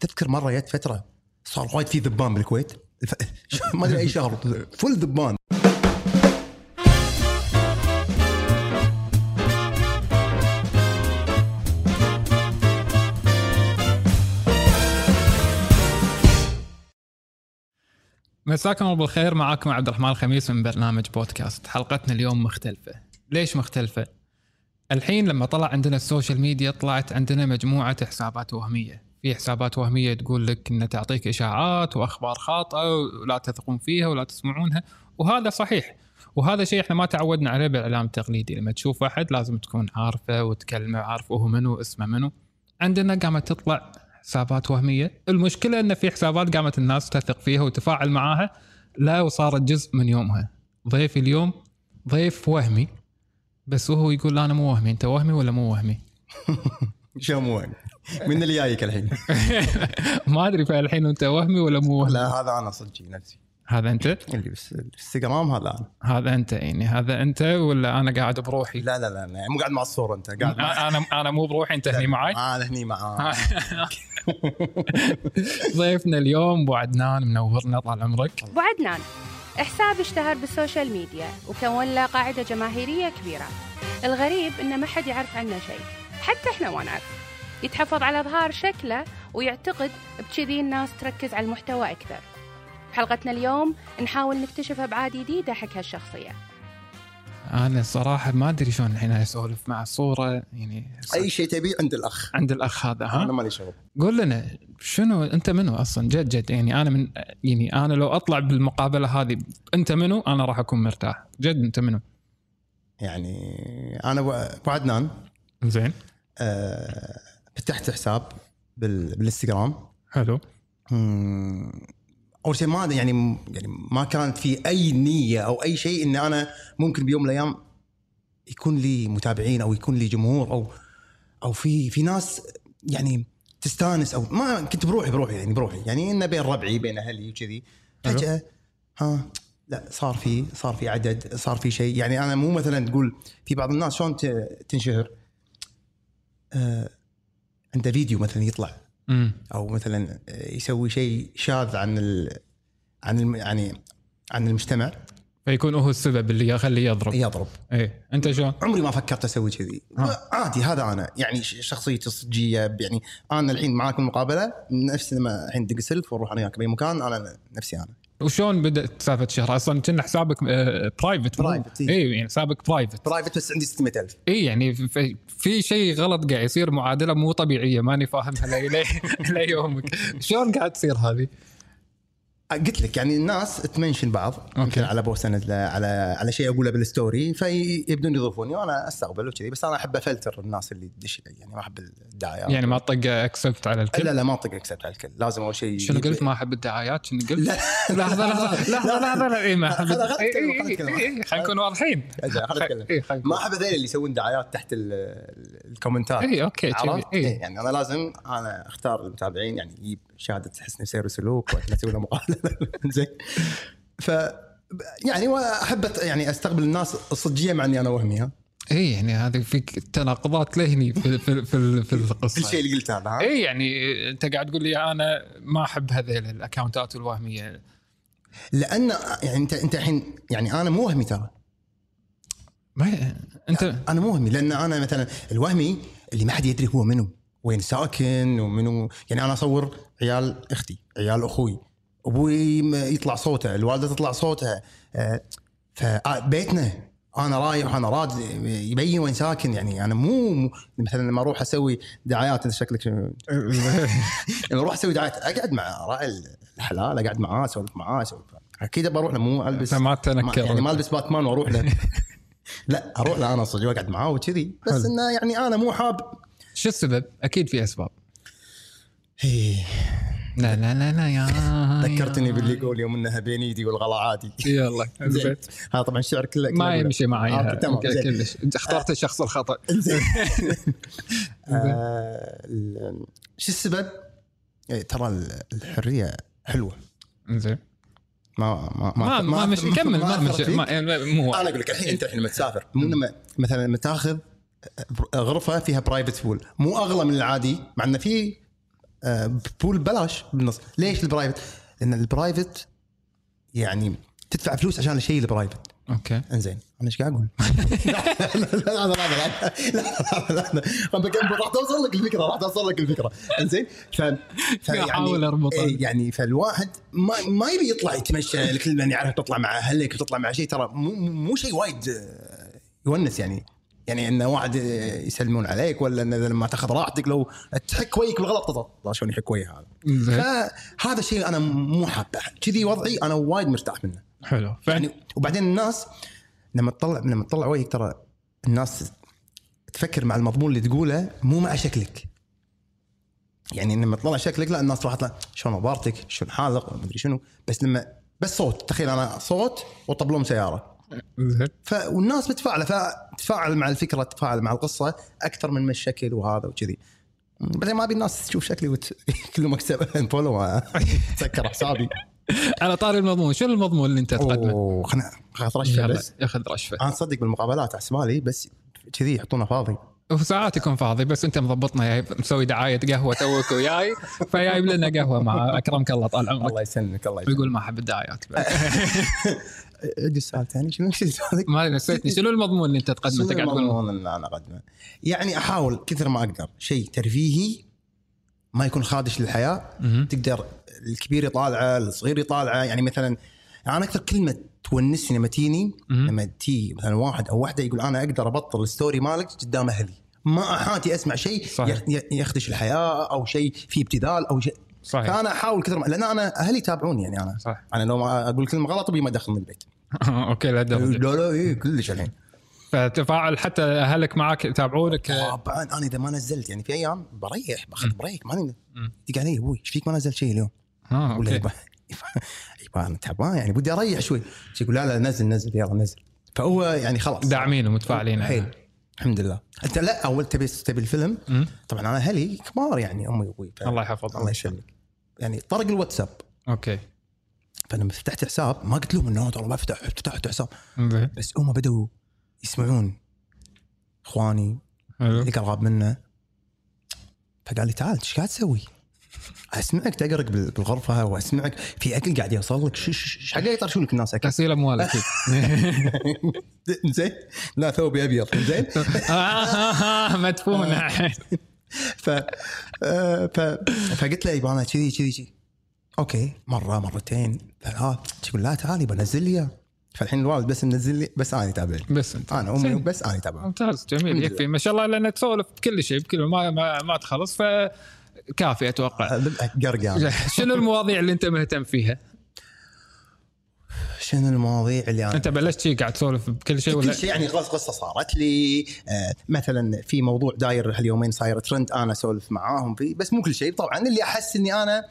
تذكر مره جت فتره صار وايد في ذبان بالكويت ما ادري اي شهر فل ذبان مساكم الله بالخير معاكم عبد الرحمن الخميس من برنامج بودكاست حلقتنا اليوم مختلفة ليش مختلفة؟ الحين لما طلع عندنا السوشيال ميديا طلعت عندنا مجموعة حسابات وهمية في حسابات وهمية تقول لك أن تعطيك إشاعات وأخبار خاطئة ولا تثقون فيها ولا تسمعونها وهذا صحيح وهذا شيء احنا ما تعودنا عليه بالاعلام التقليدي لما تشوف احد لازم تكون عارفه وتكلمه عارف هو منو اسمه منو عندنا قامت تطلع حسابات وهميه المشكله ان في حسابات قامت الناس تثق فيها وتفاعل معاها لا وصارت جزء من يومها ضيفي اليوم ضيف وهمي بس وهو يقول لا انا مو وهمي انت وهمي ولا مو وهمي شو مو يعني؟ من اللي جايك الحين؟ ما ادري فالحين انت وهمي ولا مو وهمي لا هذا انا صدقي نفسي هذا انت اللي بس الانستغرام هذا انا هذا انت يعني هذا انت ولا انا قاعد بروحي لا لا لا لا، مو قاعد مع الصوره انت قاعد مع انا انا مو بروحي انت هني معي انا هني مع ضيفنا اليوم ابو عدنان منورنا طال عمرك ابو عدنان حساب اشتهر بالسوشيال ميديا وكون له قاعدة جماهيرية كبيرة الغريب انه ما حد يعرف عنه شيء حتى احنا ما نعرف يتحفظ على ظهار شكله ويعتقد بكذي الناس تركز على المحتوى أكثر حلقتنا اليوم نحاول نكتشف أبعاد جديدة حق هالشخصية انا الصراحه ما ادري شلون الحين اسولف مع الصوره يعني اي شيء تبيه عند الاخ عند الاخ هذا انا ها مالي شغل قول لنا شنو انت منو اصلا جد جد يعني انا من يعني انا لو اطلع بالمقابله هذه انت منو انا راح اكون مرتاح جد انت منو يعني انا أبو- ابو عدنان زين آه، فتحت حساب بال- بالانستغرام حلو مم. اول شيء ما أدري يعني يعني ما كانت في اي نيه او اي شيء ان انا ممكن بيوم من الايام يكون لي متابعين او يكون لي جمهور او او في في ناس يعني تستانس او ما كنت بروحي بروحي يعني بروحي يعني انه بين ربعي بين اهلي وكذي حلو. فجاه ها لا صار في صار في عدد صار في شيء يعني انا مو مثلا تقول في بعض الناس شلون ت- تنشهر آه عنده فيديو مثلا يطلع امم او مثلا يسوي شيء شاذ عن ال عن الم... يعني عن المجتمع فيكون هو السبب اللي يخليه يضرب يضرب ايه انت شلون؟ عمري ما فكرت اسوي كذي آه. عادي هذا انا يعني ش- شخصيتي الصجيه يعني انا الحين معاك المقابله نفس لما الحين دق سلف واروح انا وياك باي مكان انا نفسي انا وشلون بدات سالفه شهر اصلا كنا حسابك آه، برايفت Private، إيه. اي يعني حسابك برايفت برايفت بس عندي 600000 اي يعني في, في شيء غلط قاعد يصير معادله مو طبيعيه ماني فاهمها لي- لي- ليومك شلون قاعد تصير هذه؟ قلت لك يعني الناس تمنشن بعض أوكي. أوكي. على بوست أنا- على على شيء اقوله بالستوري فيبدون يضيفوني وانا استقبل وكذي بس انا احب افلتر الناس اللي تدش لي يعني ما احب الدعايات يعني ما طق اكسبت على الكل لا لا ما اطق اكسبت على الكل لازم اول شيء شنو يب- قلت ما احب الدعايات شنو قلت؟ لا. لحظه لحظه لحظه لحظه لا اي إيه، ما احب هذا غلط إي- إي- كلمة، غلط إي- كلمة. إي- إي، إيه، خلينا نكون واضحين أجل، خلنا نتكلم. إي، خلينا إيه، ما نكون- احب هذول اللي يسوون دعايات تحت ال- ال- الكومنتات اي اوكي عرفت؟ إي. إيه، يعني انا لازم انا اختار المتابعين يعني يجيب شهاده حسن سير وسلوك وبعدين اسوي له مقابله زين ف يعني واحب أت- يعني استقبل الناس الصجيه مع اني انا وهمي ها اي يعني هذه فيك تناقضات لهني في في في, في القصه كل شيء اللي قلته انا ها اي يعني انت قاعد تقول لي انا ما احب هذيل الاكونتات الوهميه لان يعني انت انت الحين يعني انا مو وهمي ترى ما انت انا مو وهمي لان انا مثلا الوهمي اللي ما حد يدري هو منو وين ساكن ومنو يعني انا اصور عيال اختي عيال اخوي ابوي م- يطلع صوته الوالده تطلع صوتها آه، فبيتنا انا رايح انا راد يبين وين ساكن يعني انا مو مو- مثلا لما اروح اسوي دعايات انت شكلك شنو- لما اروح اسوي دعايات اقعد مع راعي الحلال اقعد معاه اسولف معاه اسولف اكيد بروح له مو البس أنت ما تنكر. يعني ما البس باتمان واروح له لا اروح له انا صدق واقعد معاه وكذي بس حلو. انه يعني انا مو حاب شو السبب؟ اكيد في اسباب إيه، لا لا لا لا يا ذكرتني آه. باللي يقول يوم انها بين ايدي والغلا عادي يلا زين. هذا طبعا شعر كله كله ما أقوله. يمشي معي أوكي، تمام أوكي، زين. كلش انت اخترت الشخص الخطا زين. آه، ال- شو السبب؟ إيه، ترى ال- الحريه حلوه زين ما ما ما ما مش كمل ما أثرت مش فيك. ما يعني ما- مو انا اقول لك الحين انت الحين لما تسافر مو لما مثلا لما تاخذ غرفه فيها برايفت بول مو اغلى من العادي مع انه في آه، بول ببلاش بالنص ليش البرايفت؟ لان البرايفت يعني تدفع فلوس عشان الشيء البرايفت اوكي انزين انا ايش قاعد اقول؟ لا لا لا لا لا لا لا لا راح توصل لك الفكره راح توصل لك الفكره انزين ف فيعني- أحاول أربطها. إيه، يعني فالواحد ما ما يبي يطلع يتمشى الكل من يعرف تطلع مع اهلك وتطلع مع شيء ترى مو مو شيء وايد آه، يونس يعني يعني ان واحد آه، يسلمون عليك ولا ان إذا لما تاخذ راحتك لو تحك ويك بالغلط تطلع الله شلون يحك وي هذا زين فهذا الشيء انا مو حابه كذي وضعي انا وايد مرتاح منه حلو يعني فيعني وبعدين الناس لما تطلع لما تطلع وجهك ترى الناس تفكر مع المضمون اللي تقوله مو مع شكلك يعني لما تطلع شكلك لا الناس راح تطلع شلون عبارتك شلون حالك ما ادري شنو بس لما بس صوت تخيل انا صوت وطبلوم سياره زين ف والناس متفاعله فتفاعل مع الفكره تفاعل مع القصه اكثر من من الشكل وهذا وكذي بعدين ما ابي الناس تشوف شكلي وت... كله مكتب فولو تسكر حسابي على طاري المضمون شنو المضمون اللي انت تقدمه؟ اوه خلنا خلاص رشفه يلا، بس ياخذ رشفه انا صدق بالمقابلات عسبالي بس كذي يحطونه فاضي وساعات يكون فاضي بس انت مضبطنا جايب مسوي دعايه قهوه توك وياي فجايب لنا قهوه مع اكرمك الله طال عمرك الله يسلمك الله يسلمك يقول ما احب الدعايات بعد. عندي سؤال ثاني شنو شنو سؤالك؟ ما نسيتني شنو المضمون اللي انت تقدمه شنو انت قاعد تقول المضمون اللي انا اقدمه؟ يعني احاول كثر ما اقدر شيء ترفيهي ما يكون خادش للحياه مهم. تقدر الكبير يطالعه الصغير يطالعه يعني مثلا انا اكثر كلمه تونسني لما تيني مهم. لما تي مثلا واحد او واحده يقول انا اقدر ابطل الستوري مالك قدام اهلي ما احاتي اسمع شيء صحيح. يخ- يخدش الحياه او شيء فيه ابتذال او شيء صحيح فانا احاول كثر ما لان انا اهلي يتابعوني يعني انا صح انا لو ما اقول كلمه غلط ابي ما ادخل من البيت اوكي لا درجة. لا لا إيه كلش الحين فتفاعل حتى اهلك معك يتابعونك طبعا انا اذا ما نزلت يعني في ايام بريح باخذ بريك ماني مم. دق علي ابوي ايش فيك ما نزلت شيء اليوم؟ اه ولا اوكي يبا يبا انا تعبان يعني بدي اريح شوي يقول لا لا نزل نزل يلا نزل فهو يعني خلاص داعمين ومتفاعلين حيل الحمد لله انت لا اول تبي تبي الفيلم مم. طبعا انا اهلي كبار يعني امي وابوي ف- الله يحفظهم الله يسلمك يعني طرق الواتساب اوكي فلما فتحت حساب ما قلت لهم انه ترى بفتح فتحت حساب زين بس هم بدوا يسمعون اخواني حلو اللي قراب منه فقال لي تعال ايش قاعد تسوي؟ اسمعك تقرق بال- بالغرفه واسمعك في اكل قاعد يوصل لك شو- شو شو- حق يطرشون لك الناس اكل غسيل اموال اكيد زين لا ثوبي ابيض زين آه، مدفونه ف... آه، ف... فقلت له يبا انا كذي كذي كذي اوكي مره مرتين ثلاث يقول لا تعال يبا نزل لي إياه. فالحين الوالد بس منزل لي بس انا تابع بس انت انا امي زين. بس انا تابع ممتاز جميل الحمد يكفي ما شاء الله لان تسولف بكل شيء بكل ما ما, ما تخلص فكافي اتوقع قرقع شنو المواضيع اللي انت مهتم فيها؟ شنو المواضيع اللي انا انت بلشت شي قاعد تسولف بكل شيء ولا كل شيء يعني قص- قصه صارت لي آه، مثلا في موضوع داير هاليومين صاير ترند انا اسولف معاهم فيه بس مو كل شيء طبعا اللي احس اني انا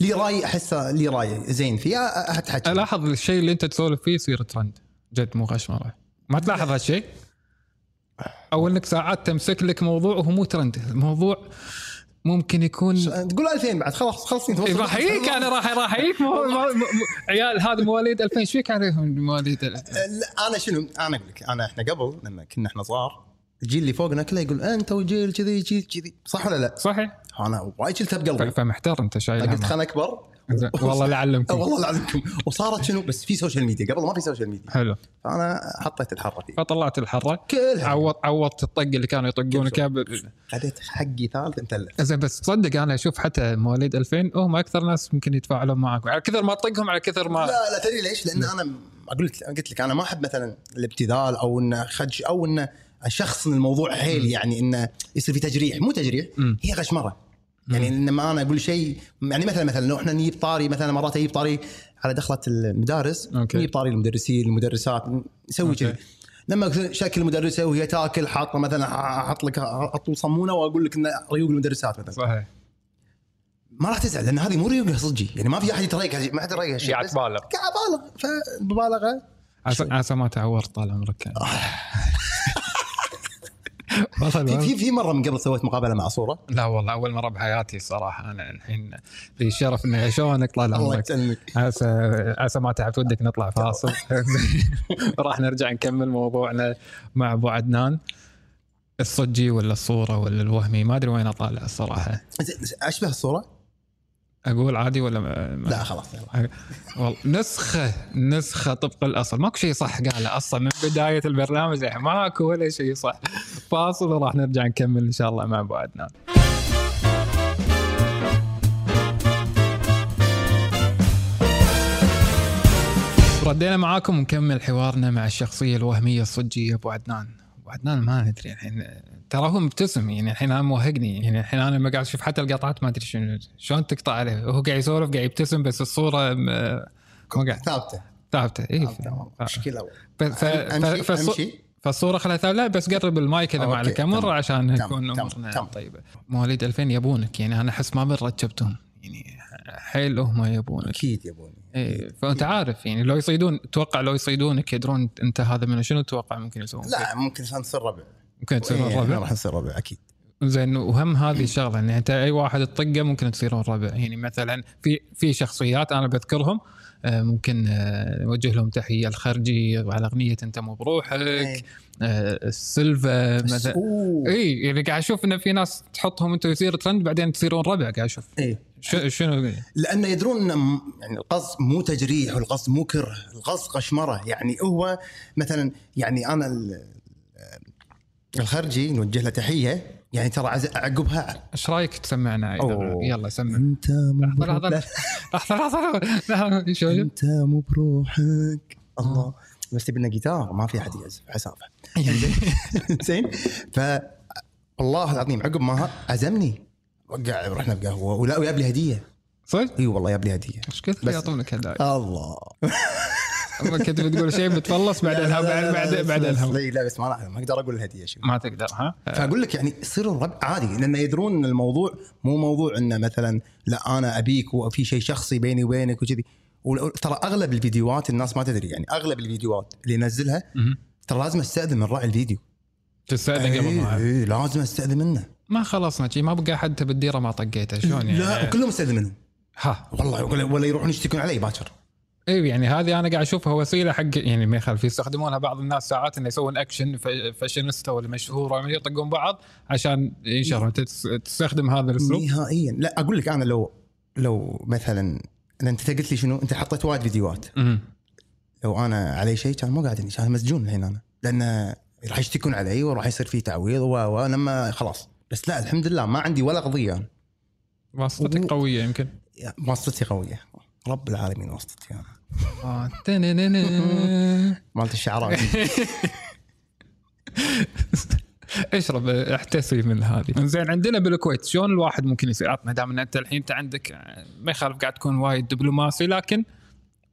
لي راي احسه لي راي زين فيه أ- اتحكى الاحظ الشيء اللي انت تسولف فيه يصير ترند جد مو غش مره ما تلاحظ هالشيء او انك ساعات تمسك لك موضوع وهو مو ترند الموضوع ممكن يكون تقول 2000 بعد خلاص خلصني إيه، راح يجيك انا راح راح يجيك مو- مو- مو- عيال هذا مواليد 2000 ايش فيك عليهم مواليد ال- لا، انا شنو انا اقول لك انا احنا قبل لما كنا احنا صغار الجيل اللي فوقنا كله يقول انت والجيل كذي كذي كذي صح ولا لا؟ صحيح انا وايد شلتها ف- بقلبي فمحتار انت شايل قلت هم. خلنا اكبر زين، والله لا آه، اعلمكم والله العظيم وصارت شنو بس في سوشيال ميديا قبل ما في سوشيال ميديا حلو فانا حطيت الحره فيه فطلعت الحره كلها عوضت عوضت الطق اللي كانوا يطقونك إياه بال- خذيت حقي ثالث مثلث زين بس تصدق انا اشوف حتى مواليد 2000 هم اكثر ناس ممكن يتفاعلون معك على كثر ما تطقهم على كثر ما لا لا تدري ليش؟ لان انا قلت قلت لك انا ما احب مثلا الابتذال او انه خدش او انه شخص من الموضوع حيل يعني انه يصير في تجريح مو تجريح مم. هي غشمره يعني لما انا اقول شيء يعني مثلا مثلا لو احنا نجيب طاري مثلا مرات اجيب طاري على دخله المدارس أوكي. نجيب طاري المدرسين المدرسات نسوي أوكي. كذي لما أقول شكل المدرسه وهي تاكل حاطه مثلا احط لك اطول صمونه واقول لك انه ريوق المدرسات مثلا صحيح ما راح تزعل لان هذه مو ريوقها صجي يعني ما في احد يتريق ما حد يتريق هالشيء قاعد بس تبالغ. قاعد ابالغ فمبالغه عسى عسى ما تعورت طال عمرك يعني. والله في الوالد- في في مره من قبل سويت مقابله مع صوره لا والله اول مره بحياتي صراحه انا الحين لي شرف اني اشوفك طال الله عمرك يسلمك عسى عسى ما تعبت ودك نطلع فاصل راح نرجع نكمل موضوعنا مع ابو عدنان الصجي ولا الصوره ولا الوهمي ما ادري وين اطالع الصراحه زين، اشبه الصوره؟ اقول عادي ولا ما ما- لا خلاص يلا والله نسخه نسخه طبق الاصل ماكو شيء صح قاله اصلا من بدايه البرنامج يعني ماكو ولا شيء صح فاصل وراح نرجع نكمل ان شاء الله مع ابو عدنان ردينا معاكم ونكمل حوارنا مع الشخصيه الوهميه الصجيه ابو عدنان ابو عدنان ما ندري الحين ترى هو مبتسم يعني الحين انا موهقني يعني الحين انا لما قاعد اشوف حتى القطعات ما ادري شنو شلون تقطع عليه هو قاعد يسولف قاعد يبتسم بس الصوره م- ما قاعد ثابته ثابته اي ثابته مشكله والله. آه. ف- ف- ف- امشي فالص- امشي فالصوره خلها لا بس قرب المايك اذا أوكي، مع الكاميرا تمام. عشان تمام، نكون تمام، امورنا تمام. طيبه مواليد 2000 يبونك يعني انا احس ما رتبتهم يعني حيل هم يبونك اكيد يبوني إيه فانت عارف يعني لو يصيدون توقع لو يصيدونك يدرون انت هذا منو شنو توقع ممكن يسوون فيك؟ لا ممكن عشان نصير ربع ممكن تصيرون إيه، ربع راح نصير ربع اكيد زين وهم هذه الشغله يعني انت اي واحد تطقه ممكن تصيرون ربع يعني مثلا في في شخصيات انا بذكرهم آه، ممكن آه، نوجه لهم تحيه الخرجي على اغنيه انت مو بروحك إيه. آه، السلفة مثلا أوه. اي يعني قاعد اشوف ان في ناس تحطهم انتم يصير ترند بعدين تصيرون ربع قاعد اشوف ايه شو- شنو لان يدرون ان م- يعني القصد مو تجريح والقصد مو كره، القصد قشمره يعني هو مثلا يعني انا ال- الخرجي نوجه له تحيه يعني ترى عز- عقبها ايش رايك تسمعنا ايضا أوه. يلا سمع انت مو لحظه لحظه بروحك لحظه لحظه لحظه شو انت مو بروحك الله بس تبي لنا جيتار ما في احد يعزف حسابه زين ف والله العظيم عقب ما عزمني وقع رحنا بقهوه ولا وياب لي هديه صدق اي أيوة والله ياب لي هديه ايش كثر بس- يعطونك هدايا الله أما كنت بتقول شيء بتفلص بعدين لا، لا، بعدين لا، بعدين بس- بعدين بس- هم. لا لا بس ما راح ما اقدر اقول الهديه شو ما تقدر ها فاقول لك يعني يصير الربع عادي لان يدرون ان الموضوع مو موضوع انه مثلا لا انا ابيك وفي شيء شخصي بيني وبينك وكذي ول- ترى اغلب الفيديوهات الناس ما تدري يعني اغلب الفيديوهات اللي ينزلها مهم. ترى لازم استاذن من راعي الفيديو تستاذن قبل اي ما إي، لازم استاذن منه ما خلصنا شي ما بقى حد بالديره ما طقيته شلون لا يعني كلهم استاذن منهم ها والله ولا- ولا يروحون يشتكون علي باكر اي يعني هذه انا قاعد اشوفها وسيله حق يعني ما يخالف يستخدمونها بعض الناس ساعات انه يسوون اكشن ف- فاشينيستا ولا مشهور ولا يطقون بعض عشان ينشرها تس- تستخدم هذا الاسلوب نهائيا لا اقول لك انا لو لو مثلا أنا انت قلت لي شنو انت حطيت وايد فيديوهات مهم. لو انا علي شيء كان مو قاعد هني، كان مسجون الحين انا لان راح يشتكون علي وراح يصير في تعويض و و لما خلاص بس لا الحمد لله ما عندي ولا قضيه أنا. واسطتك و- قويه يمكن يا- واسطتي قويه رب العالمين واسطتي انا آه، تنننن. مالت الشعراء اشرب احتسي من هذه زين عندنا بالكويت شلون الواحد ممكن يصير عط- ما دام إن انت الحين انت عندك آه، ما يخالف قاعد تكون وايد دبلوماسي لكن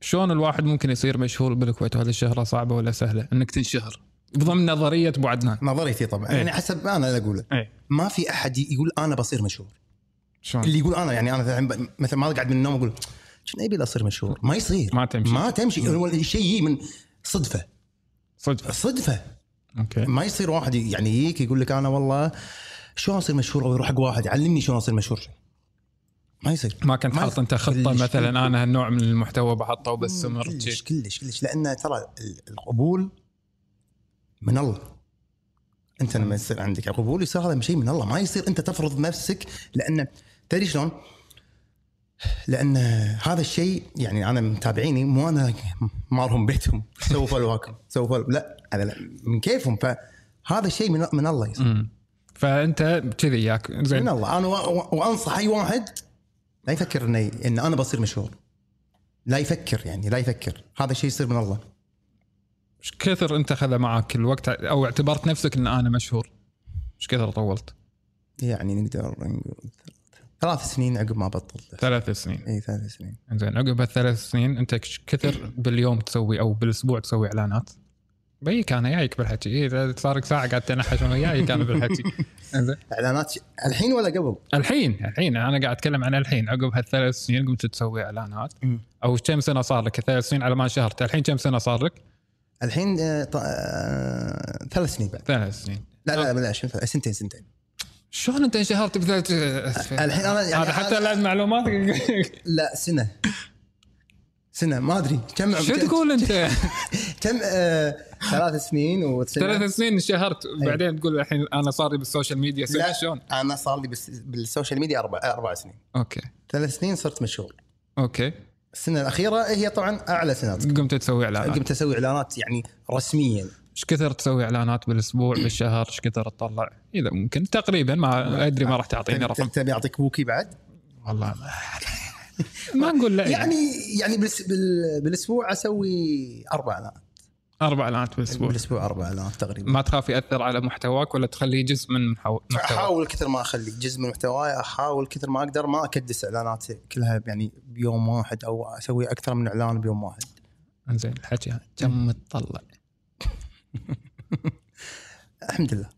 شلون الواحد ممكن يصير مشهور بالكويت وهذه الشهره صعبه ولا سهله انك تنشهر بضمن نظريه ابو عدنان نظريتي طبعا إيه. يعني حسب ما انا اللي اقوله إيه. ما في احد يقول انا بصير مشهور شلون اللي يقول انا يعني انا مثلاً ب- مثلا ما قاعد من النوم اقول شنو ابي اصير مشهور ما يصير ما تمشي. ما تمشي هو الشيء يجي من صدفه صدفه صدفه اوكي ما يصير واحد يعني يجيك يقول لك انا والله شلون اصير مشهور او يروح حق واحد علمني شلون اصير مشهور ما يصير ما كنت ما- حاط انت خطه كلش- مثلا انا هالنوع من المحتوى بحطه وبستمر كلش شي. كلش كلش لان ترى ال- القبول من الله انت لما يصير عندك قبول يصير هذا شيء من الله ما يصير انت تفرض نفسك لان تدري شلون؟ لان هذا الشيء يعني انا متابعيني مو انا مارهم بيتهم سووا فلواكم سووا فلو لا انا لا من كيفهم فهذا الشيء من, من الله يصير مم. فانت كذي ياك من زين الله انا و- و- وانصح اي واحد لا يفكر اني ان انا بصير مشهور لا يفكر يعني لا يفكر هذا الشيء يصير من الله ايش كثر انت خذ معك الوقت او اعتبرت نفسك ان انا مشهور ايش كثر طولت؟ يعني نقدر نقول ثلاث سنين عقب ما بطلت ثلاث سنين اي ثلاث سنين زين عقب هالثلاث سنين انت كش- كثر باليوم تسوي او بالاسبوع تسوي اعلانات؟ بيك انا جايك بالحكي إيه، إذا صار لك ساعه قاعد تنحش انا جايك انا بالحكي إنزين. اعلانات ش- الحين ولا قبل؟ الحين الحين انا قاعد اتكلم عن الحين عقب هالثلاث سنين قمت تسوي اعلانات مم. او كم سنه صار لك ثلاث سنين على ما شهرت الحين كم سنه صار لك؟ الحين آه، ط- آه، ثلاث سنين بعد ثلاث سنين لا لا لا, لا شنو ثلاث- سنتين سنتين شلون انت انشهرت بثلاث الحين أنا يعني هذا حتى أنا- لا معلومات لا سنه سنه ما ادري كم شو تقول انت؟ كم آه، ثلاث سنين وتسنين ثلاث سنين انشهرت بعدين تقول الحين انا صار لي بالسوشيال ميديا سنة، لا شلون؟ انا صار لي بس- بالسوشيال ميديا اربع اربع سنين اوكي ثلاث سنين صرت مشهور اوكي السنه الاخيره هي طبعا اعلى سنه قمت تسوي اعلانات قمت اسوي اعلانات يعني رسميا ايش كثر تسوي اعلانات بالاسبوع بالشهر ايش كثر تطلع اذا ممكن تقريبا ما ادري ما راح تعطيني تبي- رقم تبي اعطيك بوكي بعد والله ما, ما نقول لا يعني يعني يعني بالس- بال- بالاسبوع اسوي اربع اعلانات اربع اعلانات بالاسبوع بالاسبوع اربع اعلانات تقريبا ما تخاف ياثر على محتواك ولا تخليه جزء من محو- محتواك احاول كثر ما اخلي جزء من محتواي احاول كثر ما اقدر ما اكدس اعلاناتي كلها يعني بيوم واحد او اسوي اكثر من اعلان بيوم واحد انزين الحكي هذا. كم متطلع الحمد لله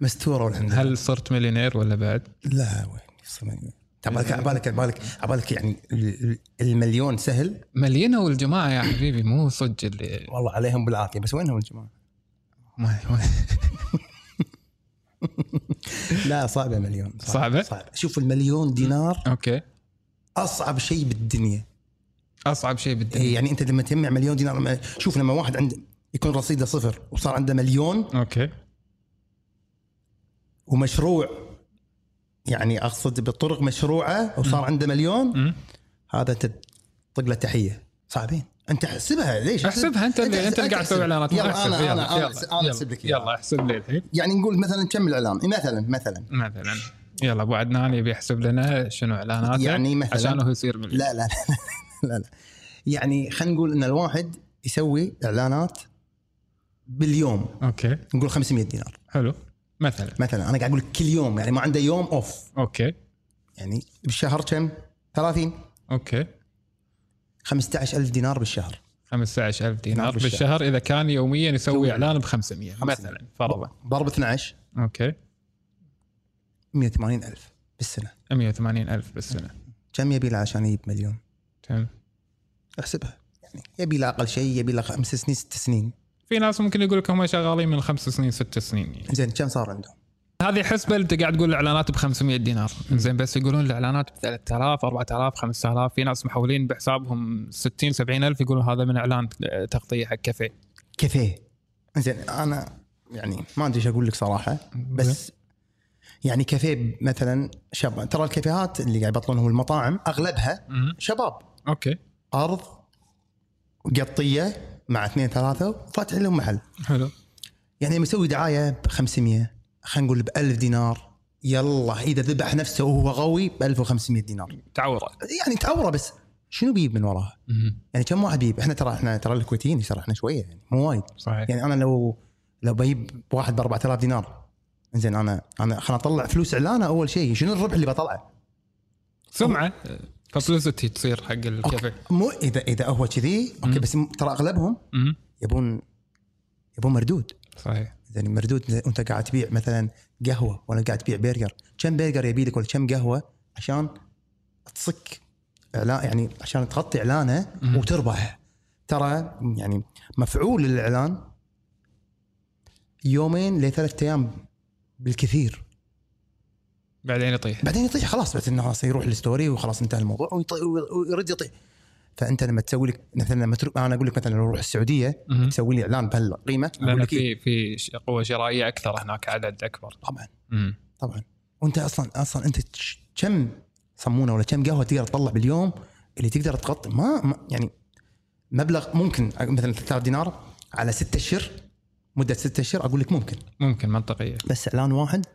مستوره والحمد لله هل صرت مليونير ولا بعد؟ لا وين صدقني. عبالك عبالك عبالك عبالك يعني ال- ال- المليون سهل ملينا والجماعه يا حبيبي مو صدق اللي والله عليهم بالعافيه بس وينهم الجماعه؟ ما- لا صعبه مليون صعبة؟ صعبه شوف المليون دينار اوكي اصعب شيء بالدنيا اصعب شيء بالدنيا إيه، يعني انت لما تجمع مليون دينار لما- شوف لما واحد عنده يكون رصيده صفر وصار عنده مليون اوكي ومشروع يعني اقصد بطرق مشروعه وصار عنده مليون أمم. هذا انت طق له تحيه صعبين انت احسبها ليش احسبها انت اللي انت اللي قاعد تسوي اعلانات ما يلا أحسب. انا انا يلا، أنا- انا احسب لك يلا يلا يلا احسب لي الحين يعني نقول مثلا كم الاعلان مثلا مثلا مثلا يلا ابو عدنان يبي يحسب لنا شنو اعلاناته يعني مثلاً- إيه؟ عشان هو يصير مليون لا لا لا لا, لا. يعني خلينا نقول ان الواحد يسوي اعلانات باليوم اوكي نقول 500 دينار حلو مثلا مثلا انا قاعد اقول لك كل يوم يعني ما عنده يوم اوف اوكي يعني بالشهر كم 30 اوكي 15000 دينار بالشهر 15000 دينار نعم، بالشهر. بالشهر اذا كان يوميا يسوي يسوي اعلان ب 500 مثلا فرضا ضرب 12 اوكي 180000 بالسنه 180000 بالسنه كم يبي له عشان يجيب مليون؟ تمام احسبها يعني يبي له اقل شيء يبي له خمس سنين ست سنين في ناس ممكن يقول لك هم شغالين من خمس سنين ست سنين يعني. زين كم صار عندهم؟ هذه حسبه اللي انت قاعد تقول الاعلانات ب 500 دينار زين بس يقولون الاعلانات ب 3000 4000 5000 في ناس محولين بحسابهم 60 70000 يقولون هذا من اعلان تغطيه حق كافيه كافيه زين انا يعني ما ادري ايش اقول لك صراحه بس يعني كافيه مثلا شباب ترى الكافيهات اللي قاعد يبطلونهم المطاعم اغلبها مم. شباب اوكي ارض قطيه مع اثنين ثلاثه فاتح لهم محل حلو يعني لما يسوي دعايه ب 500 خلينا نقول ب 1000 دينار يلا اذا ذبح نفسه وهو غوي ب 1500 دينار تعوره يعني تعوره بس شنو بيجيب من وراها؟ يعني كم واحد بيجيب؟ احنا ترى احنا ترى الكويتيين ترى احنا شويه يعني مو وايد صحيح يعني انا لو لو بجيب واحد ب 4000 دينار زين انا انا خليني اطلع فلوس اعلانه اول شيء شنو الربح اللي بطلعه؟ سمعه ببليستي تصير حق الكافيه مو اذا اذا هو كذي اوكي بس م- ترى اغلبهم مم. يبون يبون مردود صحيح يعني مردود انت قاعد تبيع مثلا قهوه ولا قاعد تبيع برجر كم برجر يبي لك ولا كم قهوه عشان تصك اعلان يعني عشان تغطي اعلانه مم. وتربح ترى يعني مفعول الاعلان يومين لثلاث ايام بالكثير بعدين يطيح بعدين يطيح خلاص بس انه خلاص يروح الستوري وخلاص انتهى الموضوع ويطي- ويرد يطيح فانت لما تسوي لك مثلا لما تروح انا اقول لك مثلا لو اروح السعوديه مهم. تسوي لي اعلان بهالقيمه اقول لان لك إيه. في في ش- قوه شرائيه اكثر هناك عدد اكبر طبعا مم. طبعا وانت اصلا اصلا انت تش- كم صمونه ولا كم قهوه تقدر تطلع باليوم اللي تقدر تغطي ما, ما يعني مبلغ ممكن مثلا 3000 دينار على ستة اشهر مده ستة اشهر اقول لك ممكن ممكن منطقيه بس اعلان واحد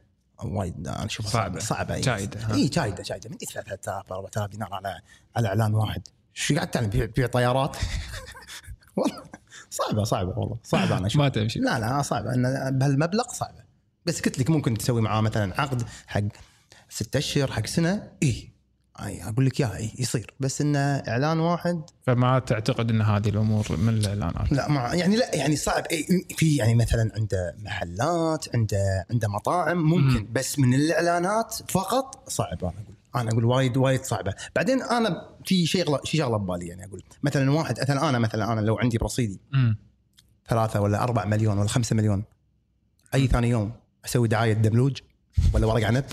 وايد انا اشوفها صعبة. صعبه صعبه اي جايدة، ها. اي جايده جايده إيه، من 3000 4000 دينار على على اعلان واحد شو قاعد تعلم بيع, بيع طيارات والله صعبه صعبه والله صعبه انا اشوفها ما تمشي لا لا صعبه ان بهالمبلغ صعبه بس قلت لك ممكن تسوي معاه مثلا عقد حق ستة اشهر حق سنه اي اي اقول لك يا اي يصير بس انه اعلان واحد فما تعتقد ان هذه الامور من الاعلانات لا ما يعني لا يعني صعب إي في يعني مثلا عنده محلات عنده عنده مطاعم ممكن مم. بس من الاعلانات فقط صعب انا اقول انا اقول وايد وايد صعبه بعدين انا في شيء شيء شغله ببالي يعني اقول مثلا واحد مثلا انا مثلا انا لو عندي برصيدي مم. ثلاثة ولا أربعة مليون ولا خمسة مليون أي ثاني يوم أسوي دعاية دبلوج ولا ورق عنب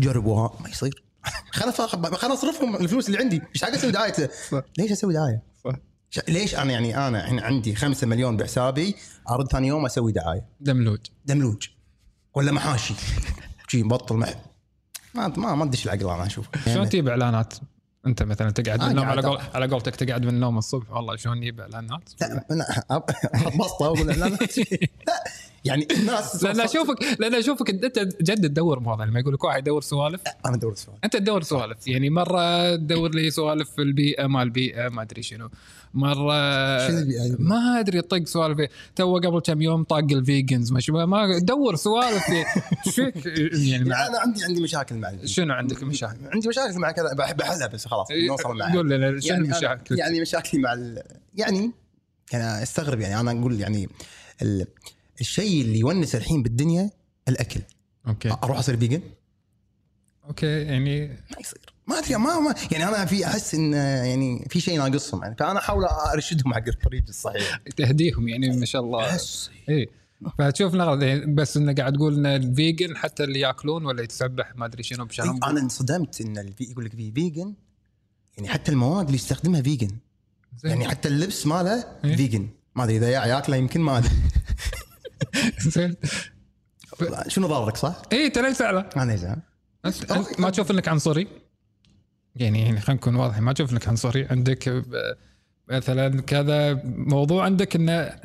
جربوها ما يصير خلنا خلنا اصرفهم الفلوس اللي عندي ايش حق اسوي دعايه ليش اسوي دعايه؟ صح. ش- ليش انا يعني انا الحين عندي 5 مليون بحسابي ارد ثاني يوم اسوي دعايه دملوج دملوج ولا محاشي شي بطل مح ما ما ما تدش العقل انا اشوف شلون تجيب اعلانات؟ انت مثلا تقعد من أنا النوم على قاعد قول على قولتك تقعد من النوم الصبح والله شلون نجيب اعلانات؟ لا لا أحط بسطه ولا لا لا لا، يعني الناس لان اشوفك لان اشوفك انت جد تدور مواضيع لما يقول لك واحد يدور سوالف انا دور السؤال انت تدور سوالف يعني مره تدور لي سوالف في البيئه ما البيئه ما ادري شنو مره شنو البيئة؟ يعني؟ ما ادري طق سوالف تو قبل كم يوم طاق الفيجنز ما شو- ما دور سوالف شك يعني مع انا عندي عندي مشاكل مع شنو عندك مشاكل؟ إيه، عندي مشاكل مع كذا بحب احلها بس خلاص نوصل معها قول لنا شنو يعني أنا- المشاكل؟ يعني مشاكلي مع ال... يعني انا استغرب يعني انا اقول يعني ال... الشيء اللي يونس الحين بالدنيا الاكل اوكي اروح اصير فيجن اوكي يعني ما يصير ما ادري ما, ما يعني انا في احس ان يعني في شيء ناقصهم يعني فانا احاول ارشدهم حق الطريق الصحيح تهديهم يعني ما شاء الله بس اي فتشوف لنا بس انه قاعد تقول ان الفيجن حتى اللي ياكلون ولا يتسبح ما ادري شنو بشنب انا يعني انصدمت ان الفي يقول لك في فيجن يعني حتى المواد اللي يستخدمها فيجن زين. يعني حتى اللبس ماله إيه. فيجن ما ادري اذا ياكله يمكن ما ادري زين شنو ضرك صح؟ اي ترى سهله انا زين أنت- أنت ما تشوف انك عنصري؟ يعني يعني خلينا نكون واضحين ما تشوف انك عنصري عندك ب- مثلا كذا موضوع عندك انه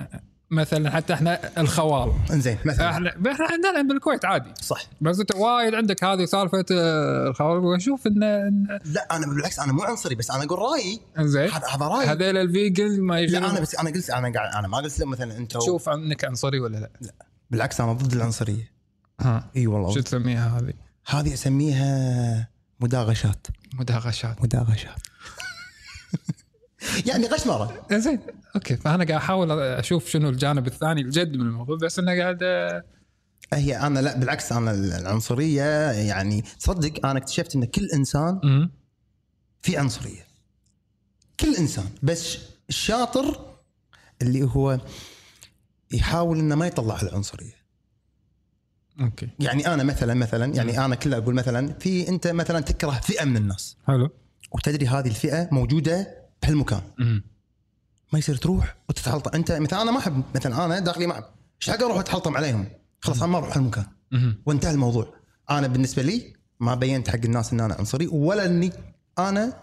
مثلا حتى احنا الخوال انزين مثلا احنا احنا عندنا بالكويت عادي صح بس انت وايد عندك هذه سالفه آه، الخوال واشوف انه إنه- لا انا بالعكس انا مو عنصري بس انا اقول رايي زين هذا إيه؟ هذا رايي هذيل الفيجن ما لا انا يجون بس انا قلت انا قاعد انا ما قلت لهم مثلا انتم شوف تشوف انك عنصري ولا لا؟ بالعكس انا ضد العنصريه ها اي شو والله تسميها هذه؟ هذه اسميها مداغشات مداغشات مداغشات يعني غشمره زين اوكي فانا قاعد احاول اشوف شنو الجانب الثاني الجد من الموضوع بس انه قاعد آه، هي انا لا بالعكس انا العنصريه يعني تصدق انا اكتشفت ان كل انسان مم. في عنصريه كل انسان بس الشاطر اللي هو يحاول انه ما يطلع العنصريه اوكي يعني انا مثلا مثلا يعني انا كله اقول مثلا في انت مثلا تكره فئه من الناس حلو وتدري هذه الفئه موجوده بهالمكان مم. ما يصير تروح وتتحلطم انت مثلا انا ما احب مثلا انا داخلي معهم ايش حق اروح اتحلطم عليهم خلاص انا ما اروح هالمكان مم. وانتهى الموضوع انا بالنسبه لي ما بينت حق الناس ان انا عنصري ولا اني انا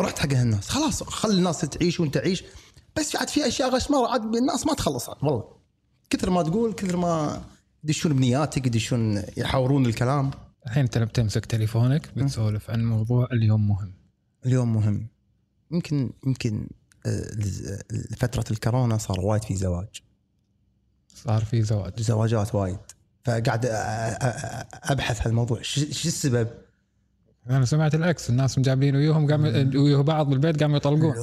رحت حق هالناس خلاص خلي الناس تعيش وانت تعيش بس عاد في اشياء غشمره عاد الناس ما تخلص عاد والله كثر ما تقول كثر ما يدشون بنياتك يدشون يحاورون الكلام الحين انت لما تمسك تليفونك بتسولف عن موضوع اليوم مهم اليوم مهم يمكن يمكن آه، فترة الكورونا صار وايد في زواج صار في زواج زواجات وايد فقاعد آه، أ- أ- أ- ابحث هالموضوع ش- شو السبب؟ انا سمعت العكس الناس مجابلين وياهم قام ويا بعض بالبيت قاموا يطلقون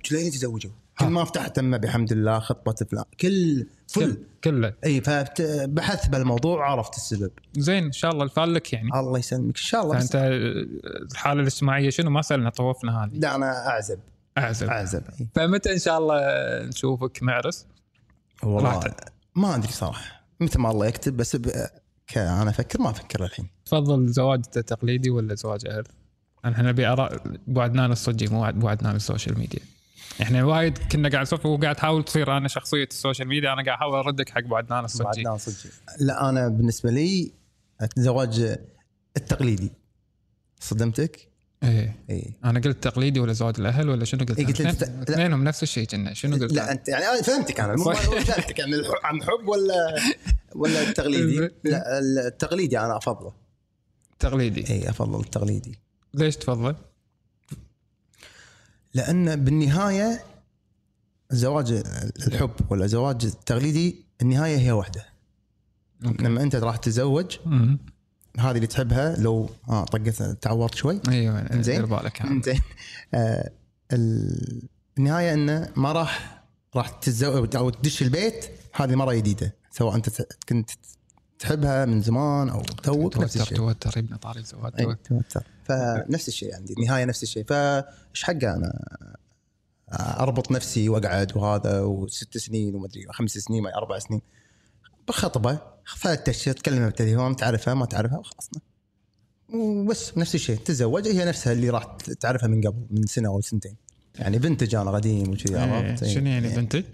لا لين يتزوجوا ها. كل ما فتحت تمه بحمد الله خطبه فلان كل فل كل- كله اي فبحثت بالموضوع عرفت السبب زين ان شاء الله الفال لك يعني الله يسلمك ان شاء الله فانت بس الحاله الاجتماعيه شنو ما سالنا طوفنا هذه لا انا اعزب اعزب اعزب إي. فمتى ان شاء الله نشوفك معرس والله راحتك. ما ادري صراحه متى ما الله يكتب بس ب... ك- انا افكر ما افكر الحين تفضل زواج تقليدي ولا زواج اهل؟ احنا نبي اراء بعدنا للصدق مو بعد- بعدنا للسوشيال ميديا. احنا وايد كنا قاعد نسولف وقاعد تحاول تصير انا شخصيه السوشيال ميديا انا قاعد احاول اردك حق بعدنا الصجي. بعدنا نعم، صدق لا انا بالنسبه لي الزواج التقليدي صدمتك؟ ايه اي انا قلت تقليدي ولا زواج الاهل ولا شنو قلت؟ إيه، قلت اثنين- لا. اثنينهم نفس الشيء كنا شنو قلت؟ لا انت يعني انا فهمتك انا مو- صح. مو فهمتك يعني الح- عن حب ولا ولا التقليدي لا التقليدي انا افضله تقليدي اي افضل التقليدي ليش تفضل؟ لان بالنهايه زواج الحب ولا زواج التقليدي النهايه هي واحده أوكي. لما انت راح تتزوج مم. هذه اللي تحبها لو اه طقت تعورت شوي ايوه إنزين. دير بالك يعني. انت آه ال- النهايه انه ما راح راح تتزوج او تدش البيت هذه مره جديده سواء انت ت- كنت تحبها من زمان او توك نفس توتر الشيء إيه. توتر يبنى طاري زواج أي، توتر. توتر. فنفس الشيء عندي النهايه نفس الشيء فايش حقه انا اربط نفسي واقعد وهذا وست سنين وما ادري خمس سنين ما اربع سنين بخطبه ثلاث اشهر تكلمها بالتليفون تعرفها ما تعرفها وخلصنا وبس نفس الشيء تتزوج هي نفسها اللي راح تعرفها من قبل من سنه او سنتين يعني بنتج انا قديم وكذي إيه، عرفت إيه. شنو يعني إيه. بنتج؟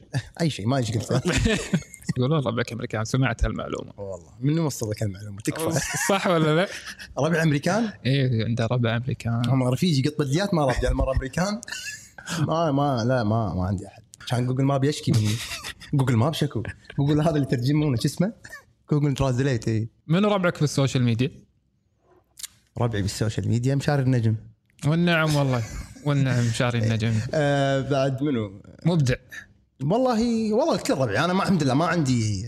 اي شيء ما ايش قلت يقول والله ربعك امريكان سمعت هالمعلومه والله من وصل لك المعلومه تكفى صح ولا لا؟ ربع امريكان اي عنده ربع امريكان هم رفيجي قط بديات ما ربع المره امريكان ما ما لا ما ما عندي احد كان جوجل ماب يشكي مني جوجل ماب شكو جوجل هذا اللي ترجمونه شو اسمه؟ جوجل ترانزليت اي منو ربعك في السوشيال ميديا؟ ربعي بالسوشيال ميديا مشار النجم والنعم والله والنعم شاري النجم آه بعد منو؟ مبدع والله والله الكل ربعي انا ما الحمد لله ما عندي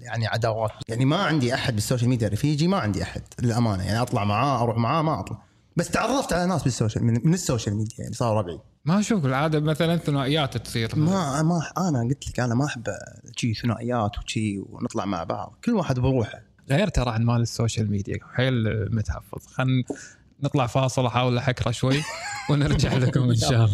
يعني عداوات يعني ما عندي احد بالسوشيال ميديا رفيجي ما عندي احد للامانه يعني اطلع معاه اروح معاه ما اطلع بس تعرفت على ناس بالسوشيال من, من السوشيال ميديا يعني صار ربعي ما اشوف العاده مثلا ثنائيات تصير ما ما انا قلت لك انا ما احب شي ثنائيات وشي ونطلع مع بعض كل واحد بروحه غير ترى عن مال السوشيال ميديا حيل متحفظ خلينا نطلع فاصل احاول احكره شوي ونرجع لكم ان شاء الله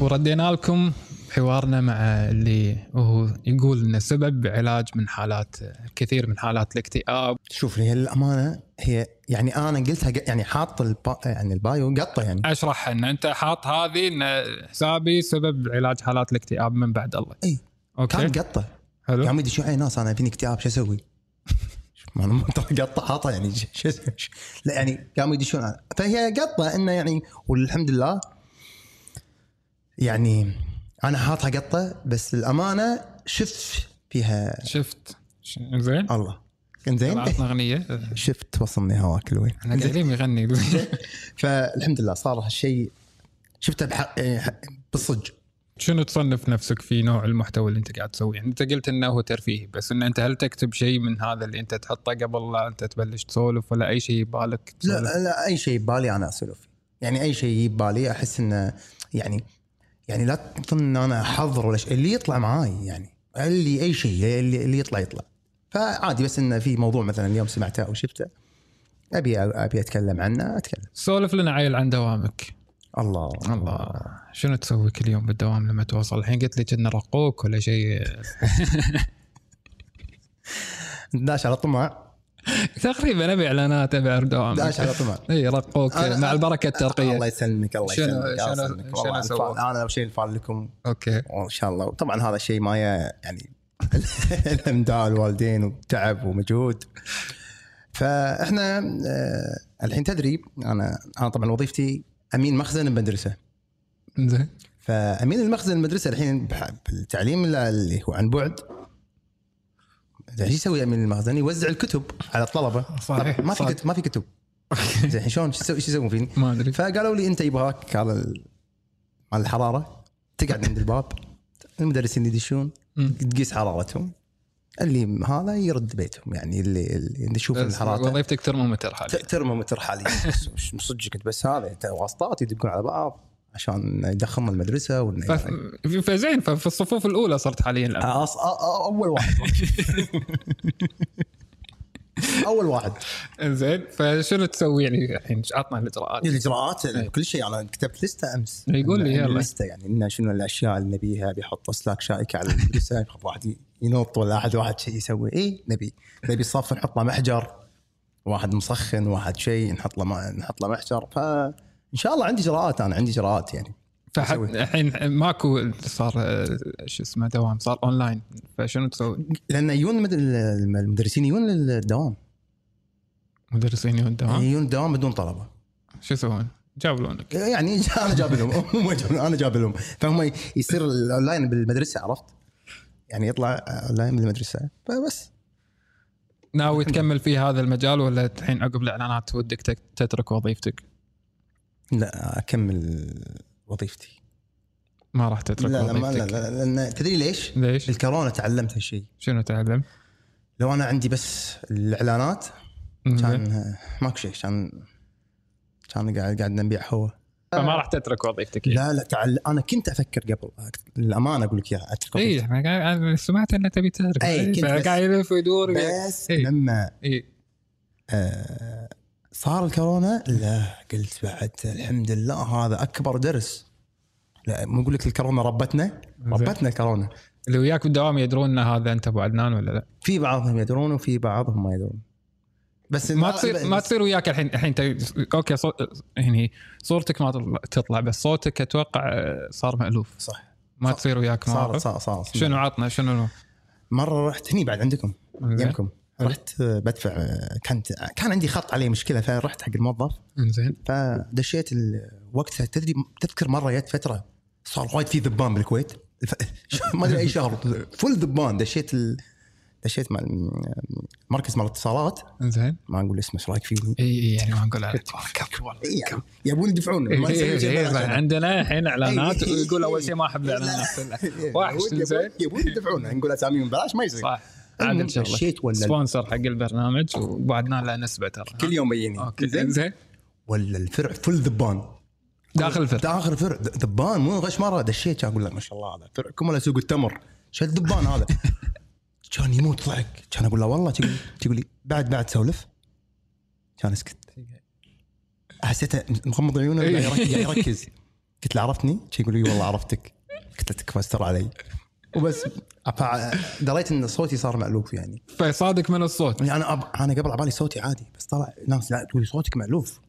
وردينا لكم حوارنا مع اللي هو يقول انه سبب علاج من حالات كثير من حالات الاكتئاب شوف هي الامانه هي يعني انا قلتها ق- يعني حاط البا يعني البايو قطه يعني اشرح ان انت حاط هذه ان حسابي سبب علاج حالات الاكتئاب من بعد الله إي. اوكي كان قطه حلو يا عمي شو علي ناس انا فيني اكتئاب شو اسوي؟ ما انا ما ترى قطه حاطه يعني ش- شو اسوي؟ ش- لا يعني قاموا يدشون على- فهي قطه انه يعني والحمد لله يعني انا حاطها قطه بس الامانه شفت فيها شفت ش- زين الله انزين عطنا اغنيه شفت وصلني هواك لوين احنا قايلين يغني فالحمد لله صار هالشيء شفته بحق إيه، حق- بالصدق شنو تصنف نفسك في نوع المحتوى اللي انت قاعد تسويه؟ انت قلت انه هو ترفيهي بس ان انت هل تكتب شيء من هذا اللي انت تحطه قبل لا انت تبلش تسولف ولا اي شيء ببالك لا تسولف؟ لا اي شيء ببالي انا اسولف فيه يعني اي شيء يجي ببالي احس انه يعني يعني لا تظن ان انا احضر ولا شيء اللي يطلع معاي يعني اللي اي شيء اللي, اللي يطلع يطلع فعادي بس انه في موضوع مثلا اليوم سمعته او شفته ابي ابي اتكلم عنه اتكلم سولف لنا عيل عن دوامك الله الله شنو تسوي كل يوم بالدوام لما توصل الحين قلت لي كنا رقوق ولا شيء داش على طمع تقريبا ابي اعلانات ابي اعرف دوامك داش على طمع اي رقوق أنا- مع البركه الله الترقيه يسلمك الله شنو- يسلمك الله شنو- يسلمك. شنو والله سوى؟ الفعل- انا اول شيء الفعل لكم اوكي وان شاء الله وطبعا هذا الشيء ما ي- يعني الامداء الوالدين وتعب ومجهود فاحنا آه، الحين تدري انا انا طبعا وظيفتي امين مخزن بمدرسه زين فامين المخزن المدرسه الحين بح- بالتعليم ال- اللي هو عن بعد زين ايش يسوي امين المخزن؟ يوزع الكتب على الطلبه صحيح، طب ما في صحيح. كتب ما في كتب زين الحين شلون ايش يسوي- ايش يسوون فيني؟ ما ادري فقالوا لي انت يبغاك على ال- على الحراره تقعد عند الباب المدرسين يدشون مم. تقيس حرارتهم اللي هذا يرد بيتهم يعني اللي, اللي نشوف بس الحراره وظيفتك ترمومتر ت- حاليا ترمومتر حاليا بس صدق كنت بس هذا ت- واسطات يدقون على بعض عشان يدخلهم المدرسه وإنه فف- يعني- فزين ففي الصفوف الاولى صرت حاليا الآن. أص- أ- أ- اول واحد اول واحد زين فشنو تسوي يعني الحين عطنا الاجراءات الاجراءات إيه، كل شيء انا كتبت لسته امس إيه. يقول لي إن- إن يلا. لسته يعني انه شنو الاشياء اللي نبيها بيحط اسلاك شائكه على المدرسه يخاف واحد ي- ينط ولا احد واحد شيء يسوي اي نبي نبي صف نحط له محجر واحد مسخن واحد شيء نحط له ما- نحط له محجر فان شاء الله عندي اجراءات انا عندي اجراءات يعني فحد- أسوي. الحين ماكو صار آه، شو اسمه دوام صار اونلاين فشنو تسوي؟ لان يجون المد- الم- المدرسين يجون للدوام مدرسين يوم الدوام يجون الدوام بدون طلبه شو يسوون؟ جابلونك يعني انا جاب لهم هم ما جاب لهم، انا جاب لهم فهم ي- يصير الاونلاين بالمدرسه عرفت؟ يعني يطلع اونلاين بالمدرسه فبس ناوي تكمل في هذا المجال ولا الحين عقب الاعلانات ودك تك- تترك وظيفتك؟ لا اكمل وظيفتي ما راح تترك لا لا ما لا, وظيفتك لا لان تدري ليش؟ ليش؟ الكورونا تعلمت هالشيء شنو تعلم؟ لو انا عندي بس الاعلانات زين. كان ماكو شيء كان كان قاعد قاعد نبيع هو فما راح تترك وظيفتك يعني. لا لا تعل... انا كنت افكر قبل للامانه اقول لك اياها اترك اي وظيفتي. احنا إيه، قاعد- أنا سمعت انك تبي تترك إي، إيه، كنت بس- قاعد يلف ويدور إيه، بس إي. لما اي آه، صار الكورونا لا قلت بعد الحمد لله هذا اكبر درس لا مو اقول لك الكورونا ربتنا ربتنا الكورونا اللي وياك بالدوام يدرون ان هذا انت ابو عدنان ولا لا؟ في بعضهم يدرون وفي بعضهم ما يدرون بس ما تصير ما تصير وياك الحين الحين انت اوكي صو... يعني صورتك ما تطلع- تطلع بس صوتك اتوقع آه، صار مالوف صح ما صار- تصير وياك صار مواقف صار صار آه. شنو عطنا شنو مره رحت هني بعد عندكم انزين يمكم رحت آه، بدفع آه، كانت كان عندي خط عليه مشكله فرحت حق الموظف انزين فدشيت ال- وقتها تدري تذكر مره جت فتره صار وايد في ذبان بالكويت ف- ما ادري اي شهر فل ذبان دشيت ال... دشيت مع مركز مال الاتصالات انزين ما نقول اسمه ايش رايك فيني؟ اي اي يعني ما نقول عليك كفو والله إي يعني يبون يدفعون إيه، ما نسوي إيه، شيء إيه، بلاش صح. يعني. عندنا الحين اعلانات إيه، إيه، ويقول اول إيه. شيء ما احب الاعلانات إيه، وحش يبون- زين يبون يدفعون نقول اساميهم ببلاش ما يصير صح المهم، عادل شغله دشيت ولا سبونسر حق البرنامج وبعدنا له نسبه ترى كل يوم بيني اوكي زين ولا الفرع فل ذبان داخل الفرع داخل الفرع د- ذبان مو غش مره دشيت كان اقول لك ما شاء الله هذا فرعكم ولا سوق التمر شو الذبان هذا كان يموت ضحك كان اقول له والله تقول تقول لي بعد بعد سولف كان اسكت حسيته مغمض عيونه قاعد يرك- قاعد يركز قلت له عرفتني؟ كان يقول لي والله عرفتك قلت له تكفى استر علي وبس فع- دريت ان صوتي صار مألوف يعني فصادق من الصوت يعني انا أب... انا قبل عبالي صوتي عادي بس طلع ناس لا تقول لي صوتك مألوف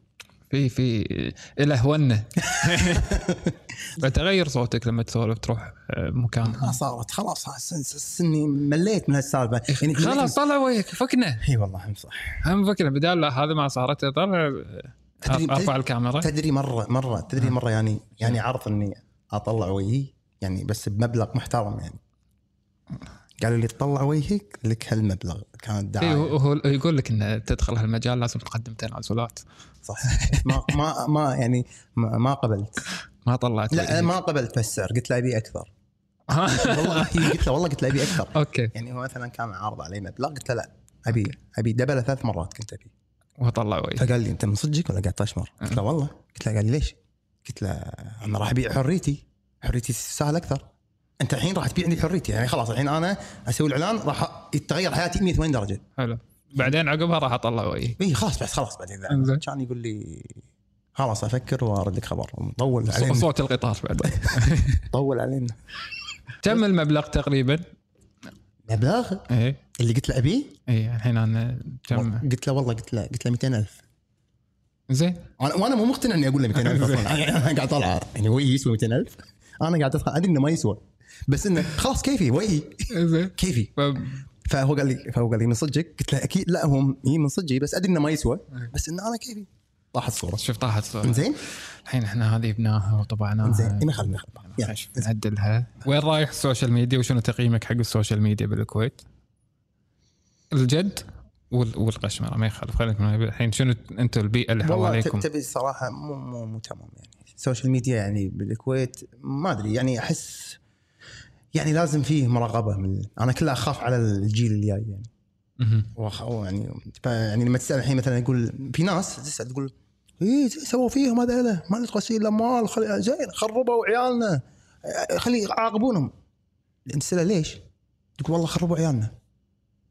في في الهونه فتغير صوتك لما تسولف تروح آه، مكان ما صارت خلاص سن- سن- اني مليت من هالسالفه يعني خلاص طلع وجهك فكنا اي والله هم صح هم فكنا بدال لا هذا ما صارت طلع آه، تدري- ارفع الكاميرا تدري مره مره تدري مره يعني يعني عرض اني اطلع وجهي يعني بس بمبلغ محترم يعني قالوا لي تطلع وجهك لك هالمبلغ كانت إيه، دعايه هو هو يقول لك ان تدخل هالمجال لازم تقدم تنازلات صح ما ما ما يعني ما, ما قبلت ما طلعت لا أنا وجهك. ما قبلت بالسعر قلت له ابي اكثر ها؟ والله قلت له والله قلت له ابي اكثر اوكي يعني هو مثلا كان عارض علي مبلغ قلت له لا ابي ابي دبله ثلاث مرات كنت ابي وطلع وجهك فقال لي انت من صدقك ولا قاعد تشمر؟ قلت له والله قلت له قال لي ليش؟ قلت له انا راح ابيع حريتي حريتي تستاهل اكثر انت الحين راح تبيع لي حريتي يعني خلاص الحين انا اسوي الاعلان راح يتغير حياتي 180 درجه حلو بعدين عقبها راح اطلع وجهي اي خلاص بس خلاص بعدين إنزين. كان يقول لي خلاص افكر وارد لك خبر مطول صو- علينا صوت القطار بعدين مطول علينا كم المبلغ تقريبا؟ مبلغ اي اللي قلت له ابيه اي إيه، الحين انا كم قلت له والله قلت له قلت له 200000 زين انا وانا مو مقتنع اني اقول له 200000 اصلا أنا- انا قاعد اطلع يعني وجهي يسوى 200000 انا قاعد ادخل ادري انه ما يسوى بس انه خلاص كيفي وجهي زين كيفي ف- فهو قال لي فهو قال لي من صدقك قلت له اكيد لا هو هي من صدقي بس ادري انه ما يسوى بس انه انا كيفي طاحت الصوره شوف طاحت صورة زين الحين احنا هذه جبناها وطبعناها زين ما خل ما خل يلا. خش، نعدلها وين رايح السوشيال ميديا وشنو تقييمك حق السوشيال ميديا بالكويت؟ الجد وال- والقشمره ما يخالف خليك من الحين شنو انتم البيئه اللي والله تب- حواليكم؟ تبي الصراحه مو مو مو تمام يعني السوشيال ميديا يعني بالكويت ما ادري يعني احس يعني لازم فيه مراقبه من انا كلها اخاف على الجيل الجاي يعني مهم. وأخ- يعني ف- يعني لما تسال الحين مثلا يقول في ناس تسال تقول ايه سووا فيهم هذا له ما نتغسل الاموال خلي زين خربوا عيالنا آه، خلي عاقبونهم تساله ليش؟ تقول والله خربوا عيالنا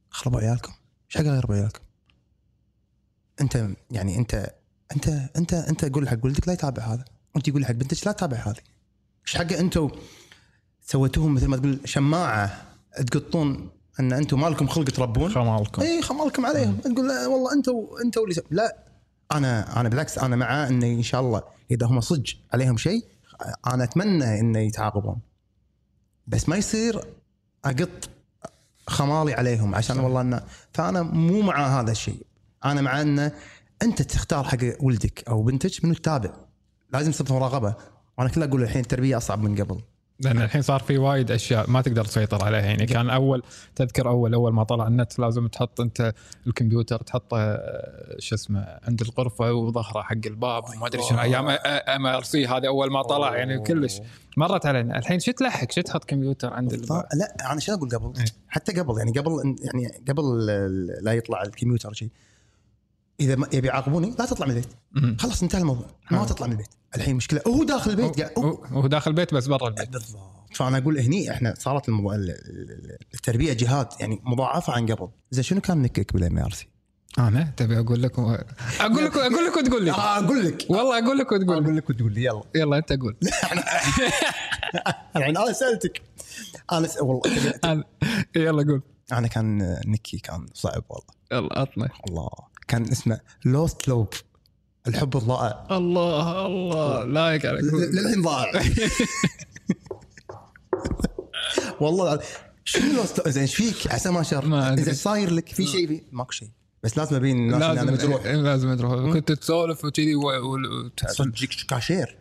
خربوا عيالكم؟ ايش حق خربوا عيالكم؟ انت يعني انت انت انت انت قول حق ولدك لا يتابع هذا وانت قول حق بنتك لا تتابع هذه ايش حق انتم سويتوهم مثل ما تقول شماعه تقطون ان انتم مالكم خلق تربون خمالكم اي إيه، خمالكم عليهم تقول لا والله انتوا انتوا اللي س- لا انا انا بالعكس انا مع انه ان شاء الله اذا هم صدق عليهم شيء انا اتمنى انه يتعاقبون بس ما يصير اقط خمالي عليهم عشان والله انه فانا مو مع هذا الشيء انا مع انه انت تختار حق ولدك او بنتك منو تتابع لازم يصير مراقبه وانا كله اقول الحين التربيه اصعب من قبل لان الحين صار في وايد اشياء ما تقدر تسيطر عليها يعني كان اول تذكر اول اول ما طلع النت لازم تحط انت الكمبيوتر تحطه آه، شو اسمه عند الغرفه وظهره حق الباب وما ادري شنو آه، ايام ام ار سي هذا اول ما طلع يعني كلش مرت علينا الحين شو تلحق شو تحط كمبيوتر عند الباب ف- لا انا شنو اقول قبل؟ إيه. حتى قبل يعني قبل إن- يعني قبل ال- لا يطلع الكمبيوتر شيء اذا ما يبي يعاقبوني لا تطلع من البيت مم. خلاص انتهى الموضوع ما حلو. تطلع من البيت الحين مشكله هو داخل البيت قاعد هو- هو داخل البيت بس برا البيت بالضبط فانا اقول هني احنا صارت المو... ال- ال- التربيه جهاد يعني مضاعفه عن قبل زين شنو كان نكك بالام ار سي؟ انا تبي اقول لك و- اقول لك اقول لك وتقول لي اقول لك والله اقول لك وتقول لي اقول لك وتقول لي يلا يلا انت قول الحين انا سالتك انا س... والله أنا- يلا قول انا كان نكي كان صعب والله يلا عطنا الله كان اسمه لوست لوب الحب الضائع الله الله لايك عليك ل- للحين ضائع والله العظيم. شنو لوست زين ايش فيك عسى ما شر ما أدري. زين صاير لك في شيء في- ماكو شيء بس لازم ابين الناس ان انا لازم مجروح إيه، لازم تروح كنت تسولف وكذي و... و... و... صدق كاشير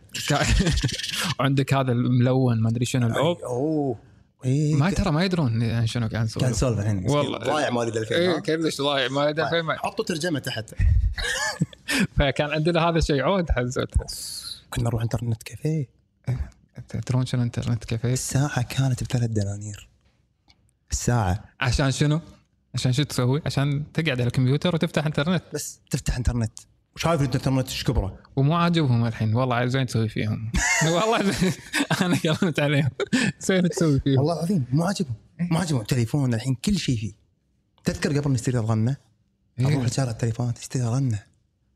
عندك هذا الملون ما ادري شنو العوب اوه إيه، ما ترى ما يدرون يعني شنو قاعد كان نسولف سولف الحين والله. ضايع مالي ذا الفيلم ايه ها؟ كلش ضايع ما يدري فين ما- حطوا ترجمه تحت فكان عندنا هذا الشيء عود حزتها كنا نروح انترنت كافيه تدرون شنو انترنت كافيه الساعه كانت بثلاث دنانير الساعه عشان شنو؟ عشان شو تسوي؟ عشان تقعد على الكمبيوتر وتفتح انترنت بس تفتح انترنت وشايف الانترنت ايش كبره ومو عاجبهم الحين والله عاد زين تسوي فيهم والله زين. انا كلمت عليهم زين تسوي فيهم والله العظيم مو عاجبهم مو عاجبهم تليفون الحين كل شيء فيه تذكر قبل نشتري الرنه اروح شارع التليفونات اشتري رنه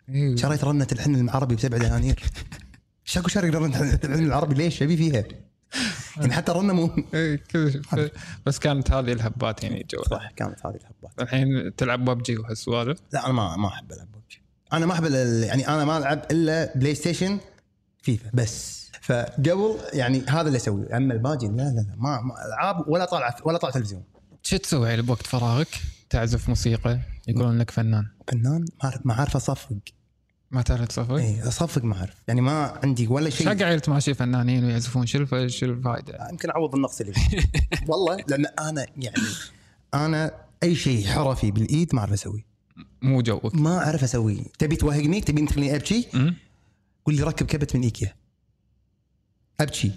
إيه. شريت رنه الحن العربي بسبع دنانير شاكو شاري رنه الحن العربي ليش ابي فيها؟ يعني حتى الرنه مو إيه، كذا شوف. بس كانت هذه الهبات يعني جو صح كانت هذه الحبات الحين تلعب ببجي وهالسوالف لا انا ما ما احب العب ببجي انا ما احب ال- يعني انا ما العب الا بلاي ستيشن فيفا بس فقبل يعني هذا اللي اسويه اما الباجي لا لا لا ما, ما العاب ولا طالع ولا طالع تلفزيون شو تسوي على بوقت فراغك؟ تعزف موسيقى يقولون لك فنان فنان ما أعرف- ما اعرف اصفق ما تعرف تصفق؟ اي اصفق ما اعرف يعني ما عندي ولا شو شيء قاعد ماشي فنانين ويعزفون شو الف- شو الفائده؟ يمكن اعوض النقص اللي فيه. والله لان انا يعني انا اي شيء حرفي بالايد ما اعرف اسويه مو جوك ما اعرف اسويه تبي توهقني تبي أنت تخليني ابكي أمم؟ قول لي ركب كبت من ايكيا ابكي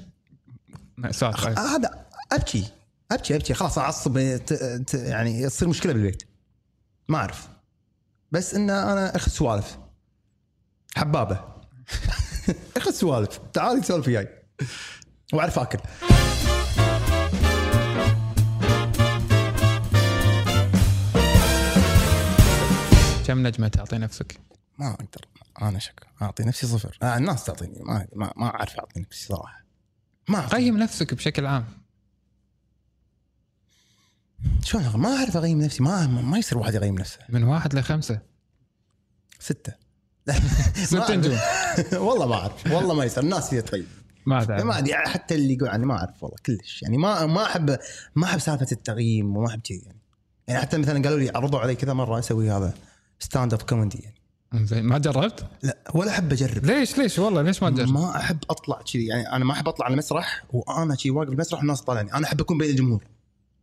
مأساة آه، هذا ابكي ابكي ابكي خلاص اعصب ت- ت- يعني تصير مشكله بالبيت ما اعرف بس ان انا اخذ سوالف حبابه اخذ سوالف تعالي تسولف وياي واعرف اكل كم نجمه تعطي نفسك؟ ما اقدر انا شك اعطي نفسي صفر آه الناس تعطيني ما ما, ما اعرف اعطي نفسي صراحه ما أعرف. قيم نفسك بشكل عام شلون أغ- ما اعرف اقيم نفسي ما ما يصير واحد يقيم نفسه من واحد لخمسه سته ما ست أعرف. نجوم والله ما اعرف والله ما يصير الناس هي طيب. تقيم ما ما تعرف ادري حتى اللي يقول عني ما اعرف والله كلش يعني ما ما احب ما احب سالفه التقييم وما احب كذي يعني يعني حتى مثلا قالوا لي عرضوا علي كذا مره اسوي هذا ستاند اب كوميدي يعني زين ما جربت؟ لا ولا احب اجرب ليش ليش والله ليش ما جربت؟ ما احب اطلع كذي يعني انا ما احب اطلع على المسرح وانا كذي واقف المسرح والناس طالعني انا احب اكون بين الجمهور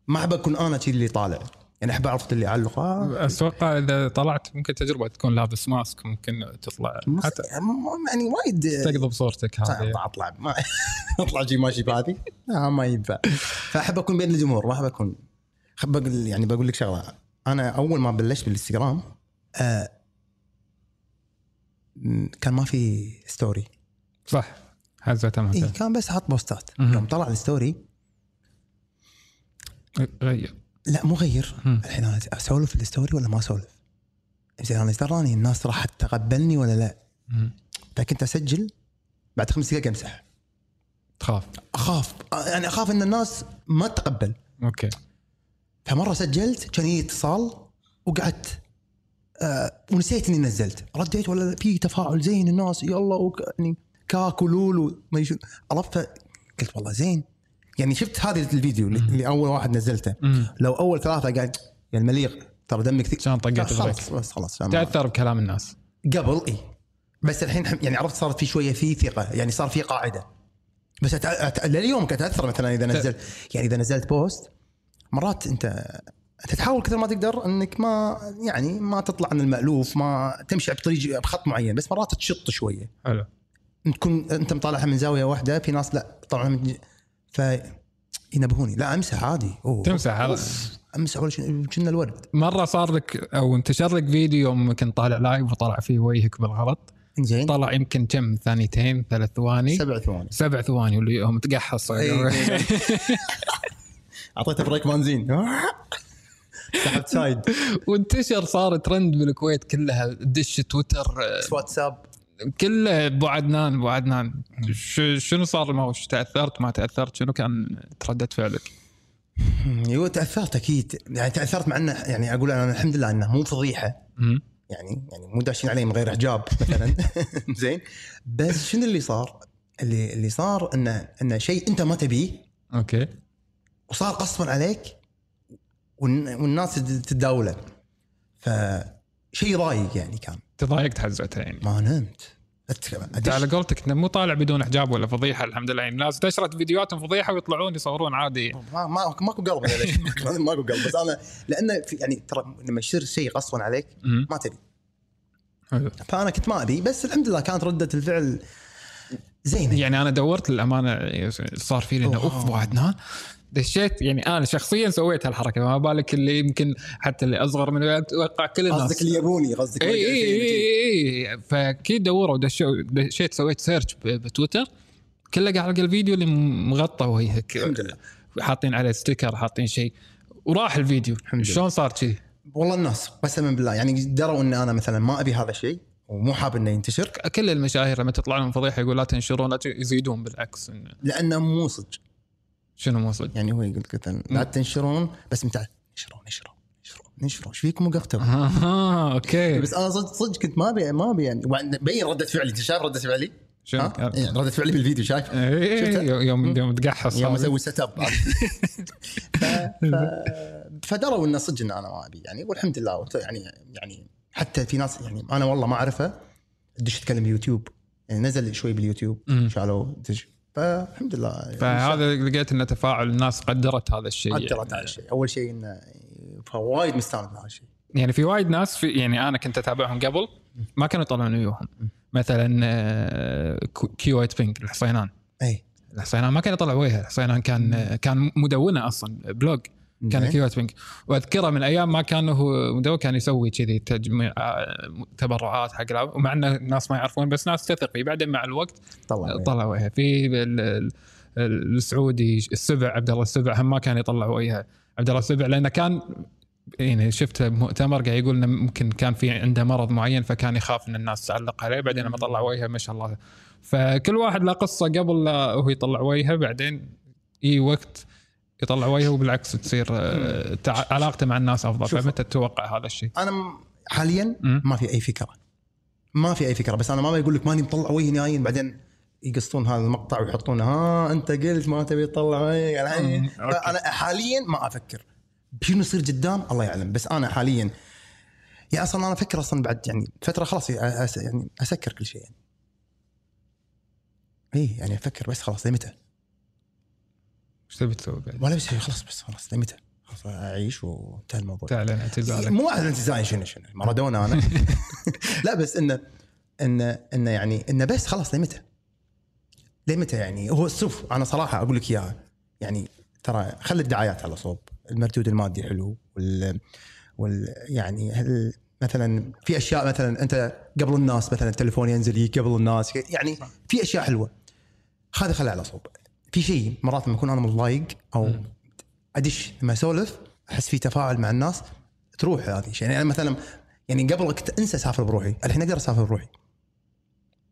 ما احب اكون انا كذي اللي طالع يعني احب اعرف اللي يعلق آه. اتوقع اذا طلعت ممكن تجربه تكون لابس ماسك ممكن تطلع مس- حتى م- يعني وايد تقضب صورتك هذه اطلع اطلع ما اطلع شي ماشي بهذه لا ما ينفع فاحب اكون بين الجمهور ما احب اكون خب بقول يعني بقول لك شغله انا اول ما بلشت بالانستغرام آه م- كان ما في ستوري صح هذا اي تمام كان بس حط بوستات مهم. يوم طلع الستوري غير لا مو غير مم. الحين انا اسولف الستوري ولا ما اسولف؟ زين انا ايش دراني الناس راح تتقبلني ولا لا؟ مم. فكنت اسجل بعد خمس دقائق امسح تخاف اخاف آه، يعني اخاف ان الناس ما تتقبل اوكي فمره سجلت كان يجي اتصال وقعدت آه ونسيت اني نزلت رديت ولا في تفاعل زين الناس يلا وك... يعني كاك ولولو ما يشو عرفت قلت والله زين يعني شفت هذا الفيديو اللي, اللي اول واحد نزلته مم. لو اول ثلاثه قاعد يا المليق ترى دمك ثقيل كان طقت لا، بريك خلاص بس خلاص أنا- تاثر بكلام الناس قبل اي بس الحين حم- يعني عرفت صارت في شويه في ثقه يعني صار في قاعده بس أت... أت... لليوم كنت اتاثر مثلا اذا نزلت يعني اذا نزلت بوست مرات انت انت تحاول كثر ما تقدر انك ما يعني ما تطلع عن المالوف ما تمشي بطريق بخط معين بس مرات تشط شويه حلو تكون انت مطالعها من زاويه واحده في ناس لا طالعها من ج- ف ينبهوني لا امسح عادي أوه. تمسح هذا أوف. امسح ولا شنو- كنا الورد مره صار لك او انتشر لك فيديو يوم كنت طالع لايف وطلع فيه وجهك بالغلط زين طلع يمكن كم ثانيتين ثلاث ثواني سبع ثواني سبع ثواني واللي هم تقحص إيه. اعطيته بريك بنزين سحبت سايد وانتشر صار ترند بالكويت كلها دش تويتر آه، واتساب كله ابو عدنان ابو عدنان ش- شنو صار ما وش تاثرت ما تاثرت شنو كان ردة فعلك؟ أيوة، ايوه تاثرت اكيد يعني تاثرت مع انه يعني اقول انا الحمد لله انه مو فضيحه مم. يعني يعني مو داشين عليه من غير حجاب مثلا زين بس شنو اللي صار؟ اللي اللي صار انه انه شيء انت ما تبيه اوكي وصار قصبا عليك والن- والناس تد- تتداوله فشيء ضايق يعني كان تضايقت حزتها يعني ما نمت أت- انت على أدش قولتك انت مو طالع بدون حجاب ولا فضيحه الحمد لله يعني الناس نشرت فيديوهاتهم فضيحه ويطلعون يصورون عادي ما ما ماكو قلب ولا شيء. ماكو- ماكو قلب بس انا لانه في- يعني ترى لما يصير شيء قصبا عليك مم. ما تبي حلو. فانا كنت ما ابي بس الحمد لله كانت رده الفعل زينه يعني انا دورت للامانه صار في لي انه أوه. اوف وعدنان دشيت يعني انا شخصيا سويت هالحركه فما بالك اللي يمكن حتى اللي اصغر من اتوقع كل الناس إيه، قصدك اليابوني قصدك اي اي اي اي فكي دوروا دشوا- دشيت سويت سيرش ب- بتويتر كله قاعد القى الفيديو اللي مغطى وجهك الحمد لله حاطين عليه ستيكر حاطين شيء وراح الفيديو الحمد لله. شلون صار كذي؟ والله الناس قسما بالله يعني دروا ان انا مثلا ما ابي هذا الشيء ومو حاب انه ينتشر كل المشاهير لما تطلع لهم فضيحه يقول لا تنشرون لا ت- يزيدون بالعكس إنه لانه مو صدق شنو مو صدق يعني هو يقول مثلا لا تنشرون بس متى نشروا نشروا نشروا نشروا ايش فيكم وقفتوا؟ اها اوكي بس انا صدق صدق كنت ما ابي ما ابي يعني وبعدين بين رده فعلي انت شايف رده فعلي؟ شنو؟ ها؟ إيه، رده فعلي بالفيديو شايف؟ إيه، شفته؟ يوم يوم تقحص يوم هذا. اسوي سيت اب ف- ف- فدروا انه صدق ان انا ما ابي يعني والحمد لله وت- يعني يعني حتى في ناس يعني انا والله ما اعرفه تدش تتكلم باليوتيوب يعني نزل شوي باليوتيوب أمم. شالوا دش فالحمد لله يعني فهذا لقيت انه تفاعل الناس قدرت هذا الشيء قدرت على الشيء اول شيء انه فوايد مستانس على الشيء يعني في وايد ناس في يعني انا كنت اتابعهم قبل ما كانوا يطلعون ويوهم مثلا آه، كو- كيويت بينك الحصينان اي الحصينان ما كان يطلع وجهه الحصينان كان آه، كان مدونه اصلا بلوج كان زين. كيويت بينك واذكره من ايام ما كان هو مدون كان يسوي كذي تجميع آه، تبرعات حق العاب ومع ان الناس ما يعرفون بس ناس تثق فيه بعدين مع الوقت طلع طلع وجهه في ال- ال- السعودي السبع عبد الله السبع هم ما كان يطلع وجهه عبد الله السبع لانه كان يعني شفت مؤتمر قاعد يقول انه ممكن كان في عنده مرض معين فكان يخاف ان الناس تعلق عليه بعدين لما طلع وجهه ما شاء الله فكل واحد له قصه قبل لا هو يطلع وجهه بعدين اي وقت يطلع وجهه وبالعكس تصير آه، تع- علاقته مع الناس افضل شوف. فمتى تتوقع هذا الشيء؟ انا م- حاليا مم. ما في اي فكره ما في اي فكره بس انا ما يقول لك ماني مطلع وجهي ناين بعدين يقصون هذا المقطع ويحطونه ها انت قلت ما تبي تطلع وجهي يعني مم، أوكي. فانا حاليا ما افكر شنو يصير قدام الله يعلم بس انا حاليا يا اصلا انا افكر اصلا بعد يعني فتره خلاص يا- أس- يعني اسكر كل شيء يعني اي يعني افكر بس خلاص لمتى ايش تبي تسوي بعد؟ ولا بسوي خلاص بس خلاص لمتى خلاص اعيش وانتهى الموضوع تعلن اعتزالك مو واحد انتزاعي شنو شنو مارادونا انا لا بس انه انه انه يعني انه بس خلاص لمتى؟ لمتى يعني هو شوف انا صراحه اقول لك اياها يعني ترى خلي الدعايات على صوب المردود المادي حلو وال وال يعني هل مثلا في اشياء مثلا انت قبل الناس مثلا التليفون ينزل يجيك قبل الناس يعني في اشياء حلوه هذا خليه على صوب في شيء مرات لما اكون انا متضايق او ادش لما اسولف احس في تفاعل مع الناس تروح هذه شيء يعني انا مثلا يعني قبل كنت انسى اسافر بروحي الحين اقدر اسافر بروحي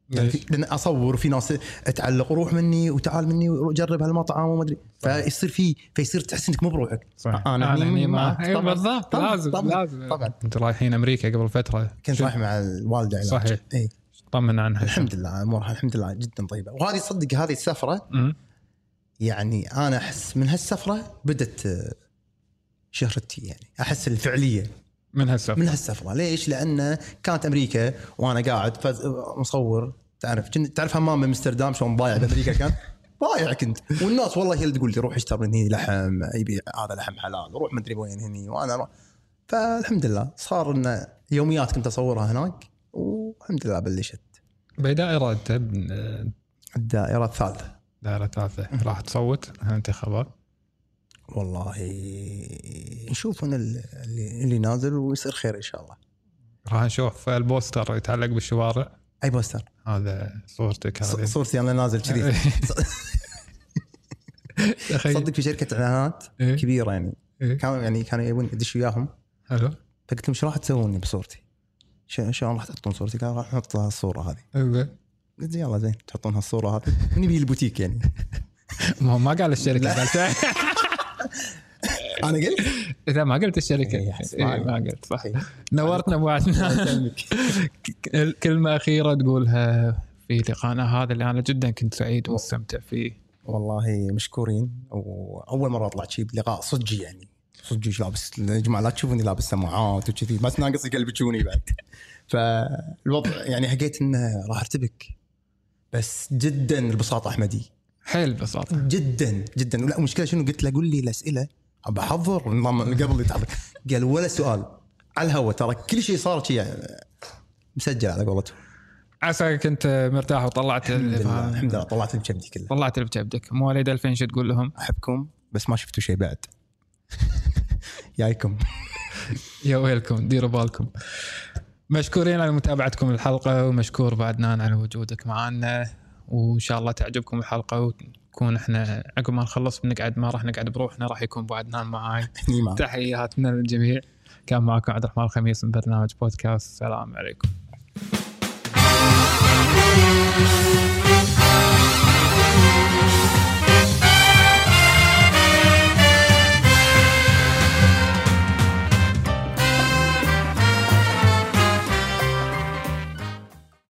يعني في- لان اصور وفي ناس تعلق روح مني وتعال مني وجرب هالمطعم وما ادري فيصير في فيصير تحس انك مو بروحك صح. انا آه، هني معك. أيوة طبعاً. بالضبط طبعاً. لازم طبعاً. لازم طبعاً. انت رايحين امريكا قبل فتره كنت شو- رايح مع الوالده علاج صحيح. اي طمنا عنها الحمد لله امورها الحمد لله جدا طيبه وهذه صدق هذه السفره أمم. يعني انا احس من هالسفره بدت آه، شهرتي يعني احس الفعليه من هالسفر من هالسفره ليش؟ لان كانت امريكا وانا قاعد فز... مصور تعرف كنت- تعرف همام من امستردام شلون ضايع بامريكا كان ضايع كنت والناس والله هي اللي تقول لي روح اشتر من هني لحم يبيع هذا لحم حلال روح مدري وين هني وانا روح. فالحمد لله صار ان يوميات كنت اصورها هناك والحمد لله بلشت بدائره تب- آه، الدائره الثالثه دائره ثالثه راح تصوت على الانتخابات والله نشوف أنا اللي, اللي نازل ويصير خير ان شاء الله راح نشوف البوستر يتعلق بالشوارع اي بوستر هذا صورتك ص- هذه صورتي انا نازل كذي تخيل. صدق في شركه اعلانات إيه. كبيره يعني إيه. كانوا يعني كانوا يبون ادش وياهم حلو فقلت لهم شو راح تسوون بصورتي؟ شو- شلون راح تحطون صورتي؟ قالوا راح نحط لها الصوره هذه إنزين. قلت يلا زين تحطون هالصوره هذه نبي البوتيك يعني ما ما قال الشركه قال انا قلت اذا ما قلت الشركه إيه، إيه، ما قلت صح إيه. نورتنا ابو عدنان كلمه اخيره تقولها في لقائنا هذا اللي انا جدا كنت سعيد ومستمتع فيه والله مشكورين واول مره اطلع شيء بلقاء صجي يعني صجي إيش لابس يا جماعه لا تشوفوني لابس سماعات وكذي بس ناقص يقلبشوني بعد فالوضع يعني حكيت انه راح ارتبك بس جدا البساطه احمدي حيل ببساطه جدا جدا لا مشكله شنو قلت له قول لي الاسئله ابى احضر نظام قبل يتحضر قال ولا سؤال على الهواء ترى كل شيء صار شيء مسجل على قولته عسى كنت مرتاح وطلعت الحمد لله ال- الحمد لله طلعت بجبدي كله طلعت اللي بجبدك مواليد 2000 شو تقول لهم؟ احبكم بس ما شفتوا شيء بعد جايكم يا ويلكم ديروا بالكم مشكورين على متابعتكم الحلقة ومشكور بعد نان على وجودك معنا وإن شاء الله تعجبكم الحلقة وتكون احنا عقب ما نخلص بنقعد ما راح نقعد بروحنا راح يكون بعد نان معاي هني معك تحياتنا للجميع كان معكم عبد الرحمن الخميس من برنامج بودكاست السلام عليكم